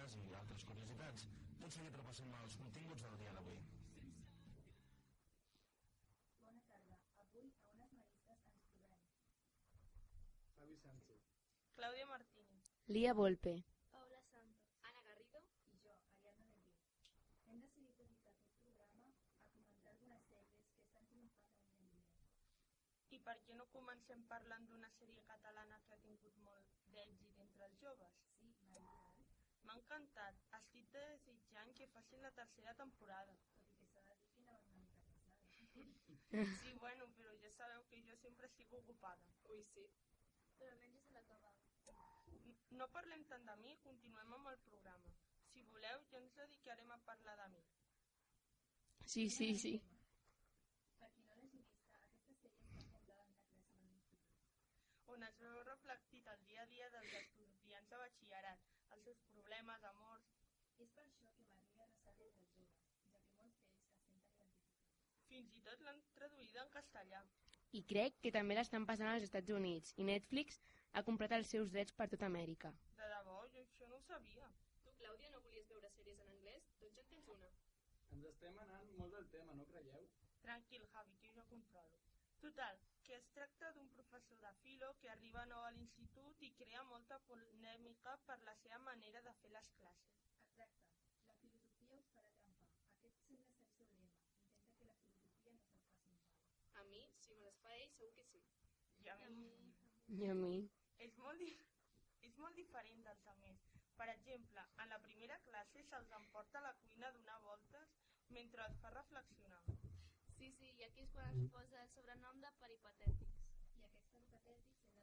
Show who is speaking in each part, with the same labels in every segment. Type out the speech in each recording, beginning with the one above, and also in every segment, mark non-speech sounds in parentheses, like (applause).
Speaker 1: les curiositats, tot seguit repassem els continguts del dia d'avui.
Speaker 2: Bona tarda. Avui a unes maristes ens trobem.
Speaker 3: Xavi Sánchez.
Speaker 4: Claudia Martínez.
Speaker 5: Lía Volpe.
Speaker 2: Paula Santos. Ana Garrido. I jo, Ariadna Levy. Hem decidit dedicar aquest programa a comentar algunes sèries que estan triomfant avui en dia.
Speaker 4: I per què no comencem parlant d'una sèrie catalana que ha tingut molt d'èxit entre els joves?
Speaker 2: Sí, Maria, eh?
Speaker 4: M'ha encantat. Estic desitjant que facin la tercera temporada.
Speaker 2: tot i que s'ha de dir que anava una mica pesada.
Speaker 4: Sí, bueno, però ja sabeu que jo sempre estic ocupada.
Speaker 6: Ui, sí.
Speaker 2: (laughs) Però almenys se l'acaba.
Speaker 4: N- No parlem tant de mi, continuem amb el programa. Si voleu, ja ens dedicarem a parlar de mi.
Speaker 5: Sí, sí, sí.
Speaker 2: Per qui no l'hagi vista, aquesta sèrie està fundada en la creació d'un institut.
Speaker 4: on es veu reflectit el dia a dia dels estudiants de batxillerat, els seus problemes, amors,
Speaker 2: És per això que Maria ressalta entre els joves, ja que molts d'ells es senten identificats.
Speaker 4: fins i tot l'han traduïda en castellà.
Speaker 5: I crec que també l'estan passant als Estats Units i Netflix ha comprat els seus drets per tota Amèrica.
Speaker 4: De debò, jo això no ho sabia.
Speaker 6: Tu, Clàudia, no volies veure sèries en anglès? Doncs ja en tens una.
Speaker 3: Ens estem anant molt del tema, no creieu?
Speaker 4: Tranquil, Javi, que jo controlo. Total, que es tracta d'un professor de filo que arriba nou a l'institut i crea molta polèmica per la seva manera de fer les classes.
Speaker 2: Exacte. La filosofia us farà trampa. Aquest sembla ser el seu lema. Intenta que la filosofia no se'n faci un pal.
Speaker 6: A mi, si me les fa ell, segur que sí.
Speaker 4: I a mi...
Speaker 5: I a mi?
Speaker 4: És molt, di és molt diferent dels altres. Per exemple, en la primera classe se'ls emporta a la cuina a donar voltes mentre els fa reflexionar.
Speaker 7: Sí, sí, i aquí és quan es posa el sobrenom de peripatètics.
Speaker 2: I aquests peripatètics hem de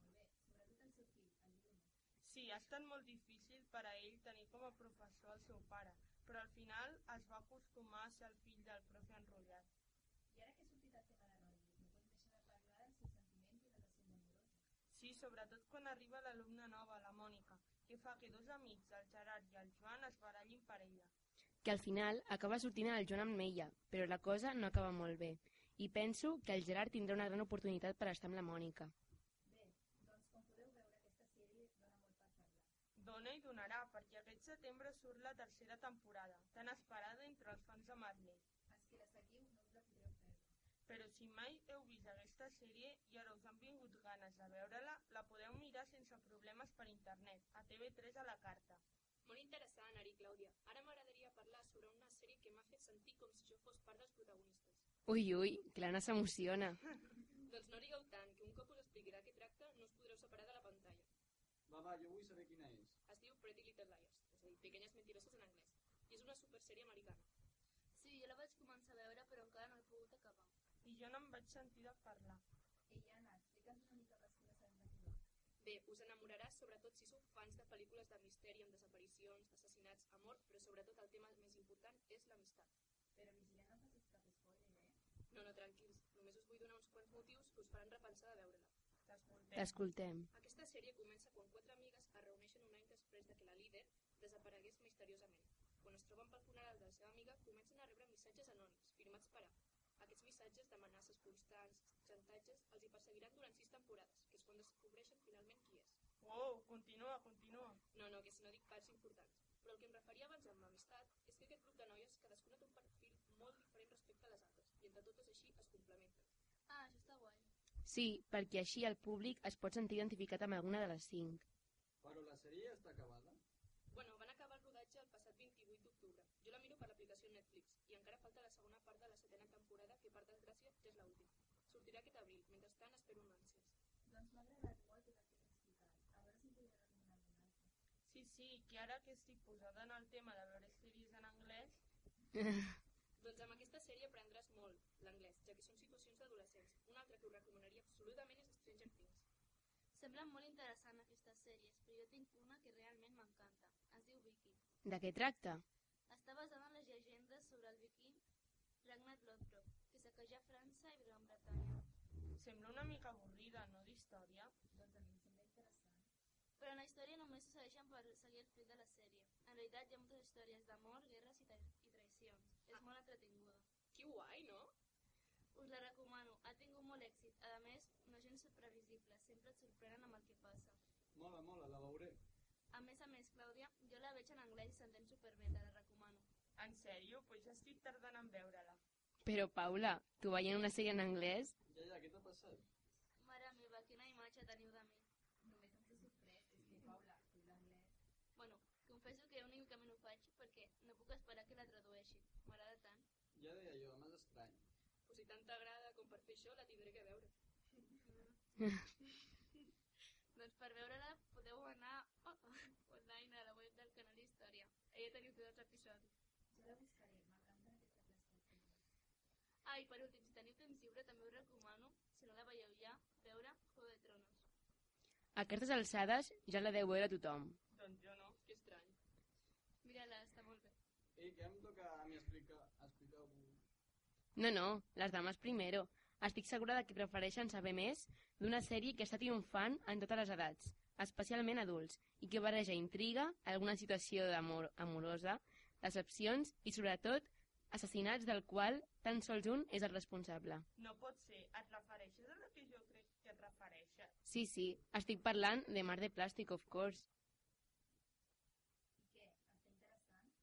Speaker 2: dir que no es porten molt bé, sobretot el seu fill, el Bruno.
Speaker 4: Sí, ha estat molt difícil per a ell tenir com a professor el seu pare, però al final es va acostumar a ser el fill del profe enrotllat.
Speaker 2: I ara que ha sortit el tema de rotllos, no podem deixar de parlar dels seus sentiments i relacions amoroses.
Speaker 4: Sí, sobretot quan arriba l'alumna nova, la Mònica, que fa que dos amics, el Gerard i el Joan, es barallin per ella.
Speaker 5: Que al final acaba sortint el Joan amb ella, però la cosa no acaba molt bé. I penso que el Gerard tindrà una gran oportunitat per estar amb la Mònica.
Speaker 2: Bé, doncs com podeu veure aquesta sèrie dona molt per parlar.
Speaker 4: Dona i donarà, perquè aquest setembre surt la tercera temporada, tan esperada entre els fans de Marley.
Speaker 2: Els que la seguiu no us la podreu perdre.
Speaker 4: Però si mai heu vist aquesta sèrie i ara us han vingut ganes de veure-la, la podeu mirar sense problemes per internet, a TV3 a la carta.
Speaker 6: Molt interessant, Ari i Clàudia. Ara m'agradaria parlar sobre una sèrie que m'ha fet sentir com si jo fos part dels protagonistes.
Speaker 5: Ui, ui, que l'Anna s'emociona.
Speaker 6: Doncs no rigueu tant, que un cop us explicarà què tracta, no us podreu separar de la pantalla.
Speaker 3: Va, va, jo vull saber quina és.
Speaker 6: Es diu Pretty Little Liars, és a dir, Pequenes Mentiroses en anglès, i és una supersèrie americana.
Speaker 7: Sí, jo la vaig començar a veure, però encara no he pogut acabar.
Speaker 4: I jo no em vaig sentir de parlar.
Speaker 2: Ei, Anna, explica'ns una mica per si no sabem de què va.
Speaker 6: Bé, us enamorarà sobretot si sou fans de pel·lícules de misteri amb desaparicions, assassinats, amor, però sobretot el tema més important és l'amistat.
Speaker 2: Però vigilem no facis cap spoiler, eh?
Speaker 6: No, no, tranquils, només us vull donar uns quants motius que us faran repensar de veure-la.
Speaker 4: T'escoltem.
Speaker 5: T'escoltem.
Speaker 6: Aquesta sèrie comença quan quatre amigues es reuneixen un any després de que la líder desaparegués misteriosament. Quan es troben pel funeral de la seva amiga, comencen a rebre missatges anònims, firmats per A. Aquests missatges d'amenaces constants, xantatges, els hi perseguiran durant sis temporades, que és quan descobreixen finalment qui és.
Speaker 4: Wow, continua, continua.
Speaker 6: No, no, que si no dic parts importants. Però el que em referia abans amb l'amistat és que aquest grup de noies cadascuna té un perfil molt diferent respecte a les altres, i entre totes així es complementen.
Speaker 7: Ah, això està guai.
Speaker 5: Sí, perquè així el públic es pot sentir identificat amb alguna de les (laughs) cinc.
Speaker 3: Però la sèrie ja està acabada?
Speaker 6: Bueno, van acabar el rodatge el passat 28 d'octubre. Jo la miro per l'aplicació Netflix i encara falta la segona part de la setena temporada que per desgràcia ja és l'última. Sortirà aquest abril, mentrestant espero amb ànsies.
Speaker 2: Doncs m'ha agradat molt tot el que has explicat. A veure si em podré recomanar alguna altra.
Speaker 4: Sí, sí, que ara que estic posada en el tema de veure sèries en anglès,
Speaker 6: Doncs amb aquesta sèrie aprendràs molt l'anglès, ja que són situacions d'adolescents. Una altra que us recomanaria absolutament és Stranger Things.
Speaker 7: Semblen molt interessant aquestes sèries, però jo tinc una que realment m'encanta. Es diu Vicky.
Speaker 5: De què tracta?
Speaker 7: Està basada en les llegendes sobre el Vicky Ragnat Lodbrok, que saquejà França i Gran Bretanya.
Speaker 4: sembla una mica avorrida, no d'història?
Speaker 2: Doncs a mi em sembla interessant.
Speaker 7: Però en la història només se segueixen per seguir el fil de la sèrie. En realitat hi ha moltes històries d'amor, guerres i, tra i traïcions. És molt entretinguda.
Speaker 6: Que guai, no?
Speaker 7: Us la recomano, ha tingut molt èxit. A més, no gens previsible, sempre et sorprenen amb el que passa.
Speaker 3: Mola, mola, la veuré.
Speaker 7: A més a més, Clàudia, jo la veig en anglès i se
Speaker 4: En sèrio? Pues ja estic tardant en veure-la.
Speaker 5: Però, Paula, tu veient una sèrie en anglès?
Speaker 3: Ja, ja, què t'ha passat?
Speaker 7: Mare meva, quina imatge teniu de mi.
Speaker 8: Només ens ha sorprès, és que Paula, tu l'anglès,
Speaker 7: Bueno, confesso que únicament ho faig perquè no puc esperar que la tradueixin. M'agrada tant.
Speaker 3: Ja deia jo, m'has estrany.
Speaker 6: O si tant t'agrada com per fer això, la tindré que veure.
Speaker 7: Doncs per veure-la podeu anar oh, (laughs) online a la web del canal Història. Allà teniu tots els episodis.
Speaker 8: jo la buscaré, marcant en aquesta plataforma.
Speaker 7: Ah, i per últim, si teniu temps lliure també us recomano, si no la veieu ja, veure Juego de Tronos.
Speaker 5: A aquestes alçades ja la deu veure tothom.
Speaker 4: Doncs jo no.
Speaker 6: Que estrany.
Speaker 7: Mira-la, està molt bé.
Speaker 3: Ei, que em toca a mi explicar, explicar-vos.
Speaker 5: No, no, les dames primero. Estic segura de que prefereixen saber més d'una sèrie que està triomfant en totes les edats, especialment adults, i que barreja intriga, alguna situació d'amor amorosa, decepcions i, sobretot, assassinats del qual tan sols un és el responsable.
Speaker 4: No pot ser. Et refereixes a la que jo crec que et refereixes?
Speaker 5: Sí, sí, estic parlant de Mar de Plàstic, of course.
Speaker 8: I què? Està interessant?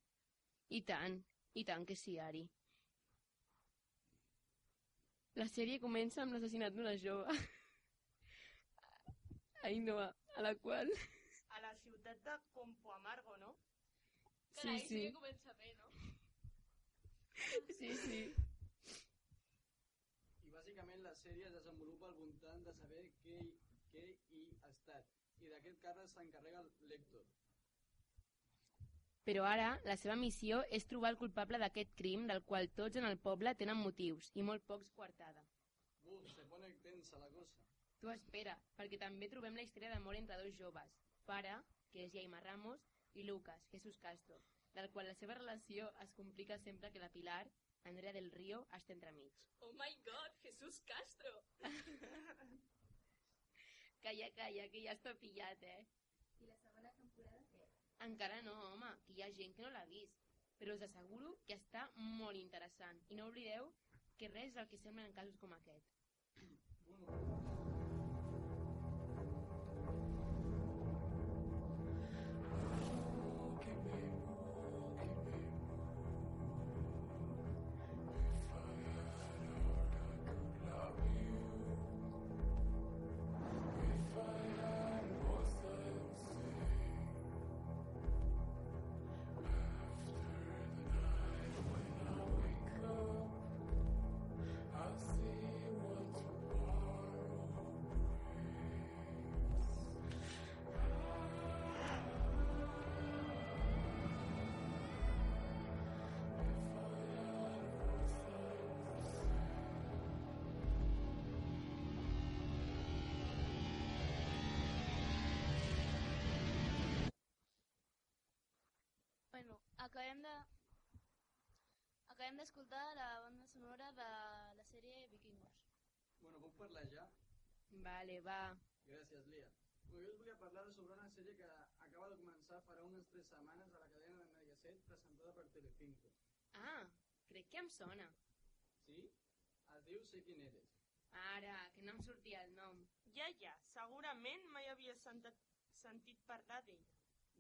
Speaker 5: I tant, i tant que sí, Ari. La sèrie comença amb l'assassinat d'una jove. (laughs) Ai, no, a la qual...
Speaker 4: A la ciutat de Compo Amargo, no?
Speaker 7: Carai,
Speaker 5: sí, sí.
Speaker 7: que comença bé, no?
Speaker 5: Sí, sí.
Speaker 3: I bàsicament la sèrie es desenvolupa al voltant de saber què, què hi ha estat. I d'aquest càrrec s'encarrega el lector.
Speaker 5: Però ara la seva missió és trobar el culpable d'aquest crim del qual tots en el poble tenen motius i molt pocs coartada.
Speaker 3: Buf, se pone tensa la cosa.
Speaker 5: Tu espera, perquè també trobem la història d'amor entre dos joves, pare, que és Jaime Ramos, i Lucas, Jesús Castro, del qual la seva relació es complica sempre que la Pilar, Andrea del Río, està entremig.
Speaker 6: Oh my god, Jesús Castro!
Speaker 5: Calla, calla, que ja està pillat, eh?
Speaker 8: I la segona temporada què?
Speaker 5: Encara no, home, que hi ha gent que no l'ha vist, però us asseguro que està molt interessant i no oblideu que res del que sembla en casos com aquest.
Speaker 7: Bueno, acabem de... Acabem d'escoltar la banda sonora de la sèrie Vikingos.
Speaker 3: Bueno, puc parlar ja?
Speaker 5: Vale, va.
Speaker 3: Gràcies, Lia. Bé, jo us volia parlar sobre una sèrie que acaba de començar farà unes tres setmanes a la cadena de Mediaset presentada per Telecinco.
Speaker 5: Ah, crec que em sona.
Speaker 3: Sí? Es diu Sé quin eres.
Speaker 5: Ara, que no em sortia el nom.
Speaker 4: Ja, ja. Segurament mai havia sentat, sentit parlar d'ell.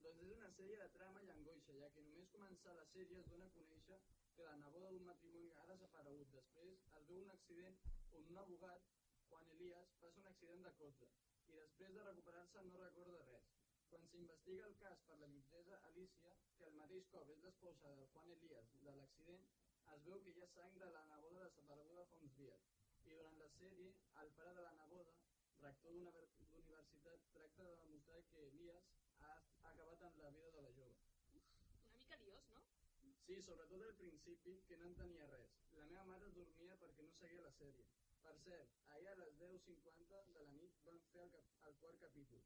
Speaker 3: Doncs és una sèrie de trama i angoixa, ja que només començar la sèrie es dona a conèixer que la neboda d'un matrimoni ara separegut després es veu un accident on un abogat, Juan Elias, passa un accident de cotxe i després de recuperar-se no recorda res. Quan s'investiga el cas per la jutgessa Alicia, que al mateix cop és l'esposa de Juan Elias de l'accident, es veu que hi ha sang de la neboda desapareguda fa uns dies. I durant la sèrie, el pare de la neboda, rector d'una ver- d'universitat, tracta de demostrar que Elias ha est- ha acabat amb la vida de la jove.
Speaker 6: Una mica liós, no?
Speaker 3: Sí, sobretot al principi, que no entenia res. La meva mare es dormia perquè no seguia la sèrie. Per cert, ahir a les 10.50 de la nit van fer el, cap el quart capítol.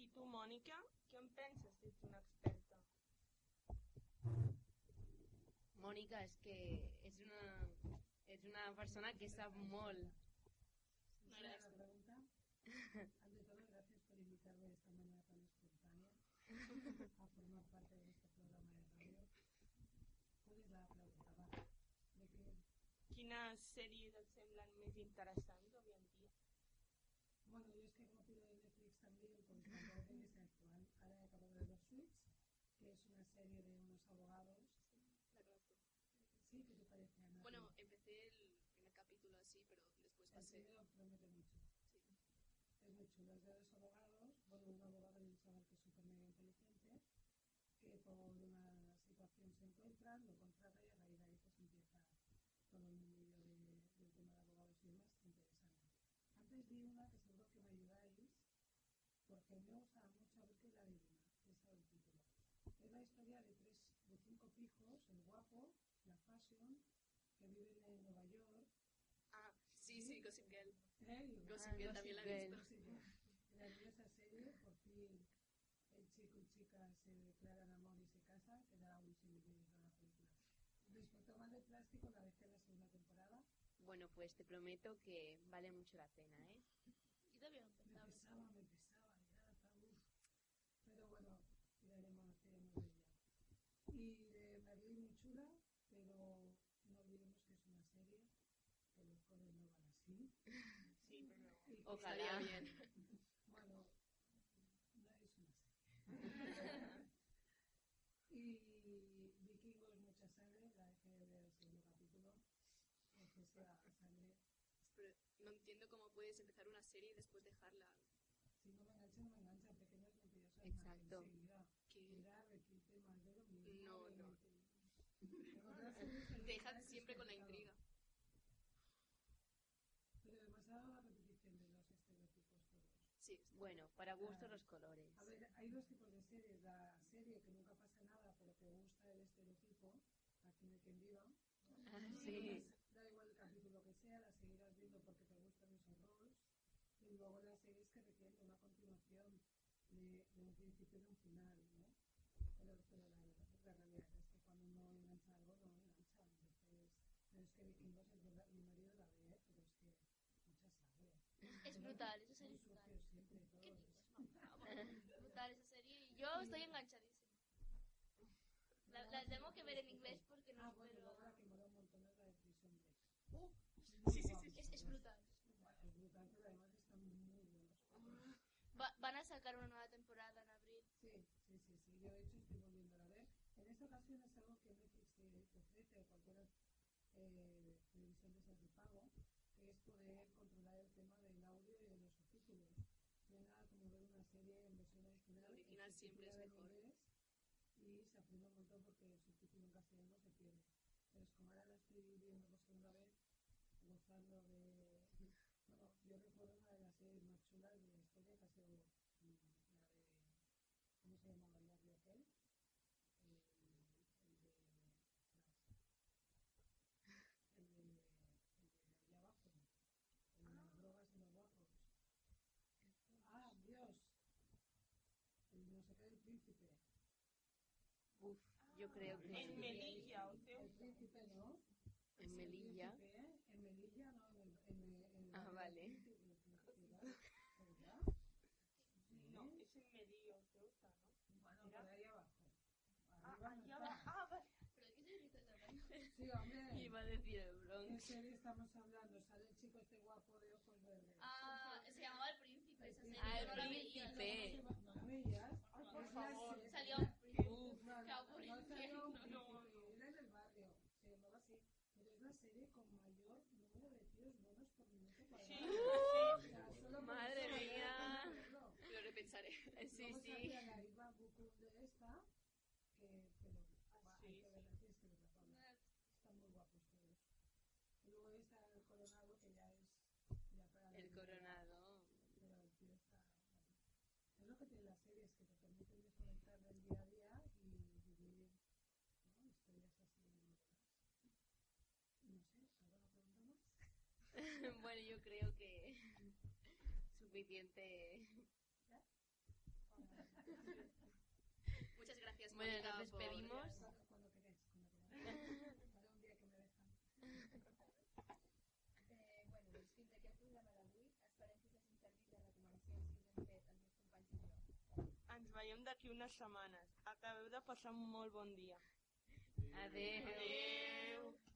Speaker 4: I tu, Mònica, què en penses? Ets una experta.
Speaker 5: Mònica, és que és una, és una persona que sap molt.
Speaker 8: Una pregunta. Ante todo, gracias por invitarme de esta manera tan espontánea a formar parte de este programa de radio. ¿Cuál es la pregunta? Va, ¿De qué?
Speaker 4: Quines sèries et semblen més interessants avui en dia?
Speaker 8: Bueno, yo es que como pido de Netflix también, pues la orden es actual. Ahora he acabado de ver Suits, que es una serie de unos abogados
Speaker 6: La que sí, pero después
Speaker 8: El
Speaker 6: pasé.
Speaker 8: primero promete mucho. Es muy chulo, es de dos abogados, bueno, un abogado y un chaval que es súper mega inteligente, que por una situación se encuentran, lo contrata y a raíz de ahí pues empieza todo el mundillo de- del tema de abogados y demás, interesante. Antes vi una que seguro que me ayudáis, porque me gustaba mucho a ver qué la adivina, esa del título. Es la historia de tres, de cinco pijos, el guapo, la fashion, que viven en Nueva York,
Speaker 6: Ah, sí, sí, Gossip Girl.
Speaker 8: ¿eh? Y-
Speaker 6: Gossip
Speaker 5: Ah,
Speaker 6: Girl
Speaker 5: Gossip
Speaker 6: también la he
Speaker 5: Girl.
Speaker 6: visto.
Speaker 8: Sí, la vi esa serie, por fin el chico y chica se declaran amor y se casan, quedará un sin millones de la película. Respecto más de plástico, la dejé en la segunda temporada.
Speaker 5: Bueno, pues te prometo que vale mucho la pena, ¿eh?
Speaker 7: Yo también lo
Speaker 8: Me
Speaker 7: pensaba.
Speaker 8: pesaba, me pesaba, ya, tabú. Pero bueno, tiraremos, tiraremos de ella. Y de Madrid muy chula, pero no olvidemos que es una serie, que los colores no van así.
Speaker 4: Sí, pero...
Speaker 8: Y que-
Speaker 5: Ojalá.
Speaker 8: Bueno, no es una serie. (laughs) y Vikingos mucha sangre, la dejé de ver el segundo capítulo, porque es la sangre.
Speaker 6: (laughs) Pero no entiendo cómo puedes empezar una serie y después dejarla.
Speaker 8: Si no me engancha, no me engancha, pequeñas mentirosas.
Speaker 5: Exacto.
Speaker 8: Mirar, repetir, más de lo mismo.
Speaker 6: No, no.
Speaker 8: no.
Speaker 6: (laughs) Te dejan siempre con la intriga.
Speaker 8: Pero demasiado la repetición de los estereotipos todos.
Speaker 6: Sí,
Speaker 5: Bueno, para gusto los colores.
Speaker 8: A ver, hay dos tipos de series. La serie que nunca pasa nada, pero que gusta el estereotipo, aquí de quien viva.
Speaker 5: Ah, sí.
Speaker 8: Da igual el capítulo que sea, la seguirás viendo porque te gustan esos roles. Y luego las series que requieren una continuación de, de un principio y de un final, ¿no? Pero, pero la, la realidad es que cuando uno engancha algo, no engancha. Entonces, pero es que Vikingos es verdad, mi marido la ve, pero es que mucha sangre.
Speaker 7: Es brutal, esa
Speaker 8: Muy
Speaker 7: serie es brutal.
Speaker 8: sucio siempre todo.
Speaker 7: ¿Qué
Speaker 8: es-
Speaker 7: dices, mamá? brutal esa serie y yo estoy enganchadísima. La, la tengo que ver en inglés porque no
Speaker 8: Ah, bueno, luego
Speaker 7: espero.
Speaker 8: la que mola un montón es la de Prison Break.
Speaker 7: Uh,
Speaker 8: sí, sí, sí,
Speaker 7: Es, es brutal.
Speaker 8: Es brutal, pero además están muy buenos.
Speaker 7: Va- van a sacar una nueva temporada en abril.
Speaker 8: Sí, sí, sí, sí. Yo de hecho estoy volviéndola a ver. En esta ocasión es algo que Netflix te te ofrece o cualquier eh, televisión de esas de pago, que es poder controlar el tema del audio y de los subtítulos. No hay nada como ver una serie en versión original.
Speaker 6: La original siempre es
Speaker 8: subtitulada en
Speaker 6: mejor.
Speaker 8: inglés, y se aprende un montón porque el subtítulo en castellano se pierde. Pero es como ahora la estoy viendo pues, por segunda vez, gozando de... (laughs) Bueno, yo recuerdo una de las series más chulas de la historia que ha sido mm, la de... ¿Cómo se llamaba el barrio aquel? El, el de... El de... El de allá abajo. El de las drogas y los guapos. ¡Ah, Dios! El no sé qué del príncipe.
Speaker 5: Uf, yo creo
Speaker 4: En
Speaker 5: que...
Speaker 4: Melilla, o
Speaker 8: El
Speaker 4: sea,
Speaker 8: príncipe, ¿no?
Speaker 5: En Melilla.
Speaker 8: El príncipe, ¿eh? En Melilla, no, en el... En el, en el
Speaker 5: Ah, vale.
Speaker 8: en el príncipe, ¿verdad?
Speaker 4: no,
Speaker 8: Sí.
Speaker 4: es en Melilla, o Ceuta, ¿no?
Speaker 8: Bueno,
Speaker 4: Mira.
Speaker 8: por ahí abajo.
Speaker 4: Ah,
Speaker 8: Arriba no
Speaker 4: allá va-
Speaker 8: está.
Speaker 4: ah, vale.
Speaker 7: Pero ¿qué te dices de
Speaker 8: Sí, hombre.
Speaker 5: Iba a decir el
Speaker 8: ¿Qué
Speaker 5: Bronx.
Speaker 8: serie estamos hablando? Sale el chico este guapo de ojos verdes.
Speaker 7: Ah, se llamaba El Príncipe esa serie.
Speaker 5: Ah,
Speaker 7: yo no la
Speaker 5: El
Speaker 7: veía.
Speaker 5: Príncipe.
Speaker 8: ¿No la veías?
Speaker 4: Ay,
Speaker 8: Es
Speaker 4: por
Speaker 8: la
Speaker 4: favor.
Speaker 8: serie.
Speaker 7: Salía un príncipe.
Speaker 8: No, no,
Speaker 7: Qué
Speaker 8: no, no salía un
Speaker 7: aburrido.
Speaker 4: No,
Speaker 8: príncipe, Era en el barrio. Se llamaba así. Pero es la serie con mayor número de tiros buenos por minuto
Speaker 4: Sí,
Speaker 8: cuadrado.
Speaker 4: sí.
Speaker 8: O sea, solo por
Speaker 5: Madre
Speaker 8: eso valía la
Speaker 5: mía.
Speaker 8: pena verlo.
Speaker 6: lo repensaré.
Speaker 5: Sí,
Speaker 8: Luego
Speaker 5: sí.
Speaker 8: salía la Iva Bucur de esta, que, pero,
Speaker 5: Ah,
Speaker 4: sí,
Speaker 8: buah, hay
Speaker 4: sí.
Speaker 8: que verla, tienes que verla, Paula. Están muy guapos todos. Y luego está el coronado, que ya es... Ya para la
Speaker 5: El
Speaker 8: vida,
Speaker 5: coronado. (laughs)
Speaker 8: Pero el tío está... bueno. Es lo que tienen las series, que te permiten desconectar del día a día y vivir ¿no? historias así. No sé, ¿alguna pregunta más?
Speaker 5: (laughs) Bueno, yo creo que... Suficiente...
Speaker 6: Muchas gracias,
Speaker 5: Bueno,
Speaker 6: Mónica,
Speaker 5: nos
Speaker 6: por-
Speaker 5: despedimos.
Speaker 8: Cuando, cuando queráis, cuando queráis. Para un día que me dejan.
Speaker 2: Eh, bueno, doncs fins aquí el programa d'avui. Esperem que us hagin servit les recomanacions que us han fet els meus companys i jo.
Speaker 4: Ens veiem d'aquí unes setmanes. Acabeu de passar un molt bon dia.
Speaker 5: Adeu.
Speaker 4: Adeu.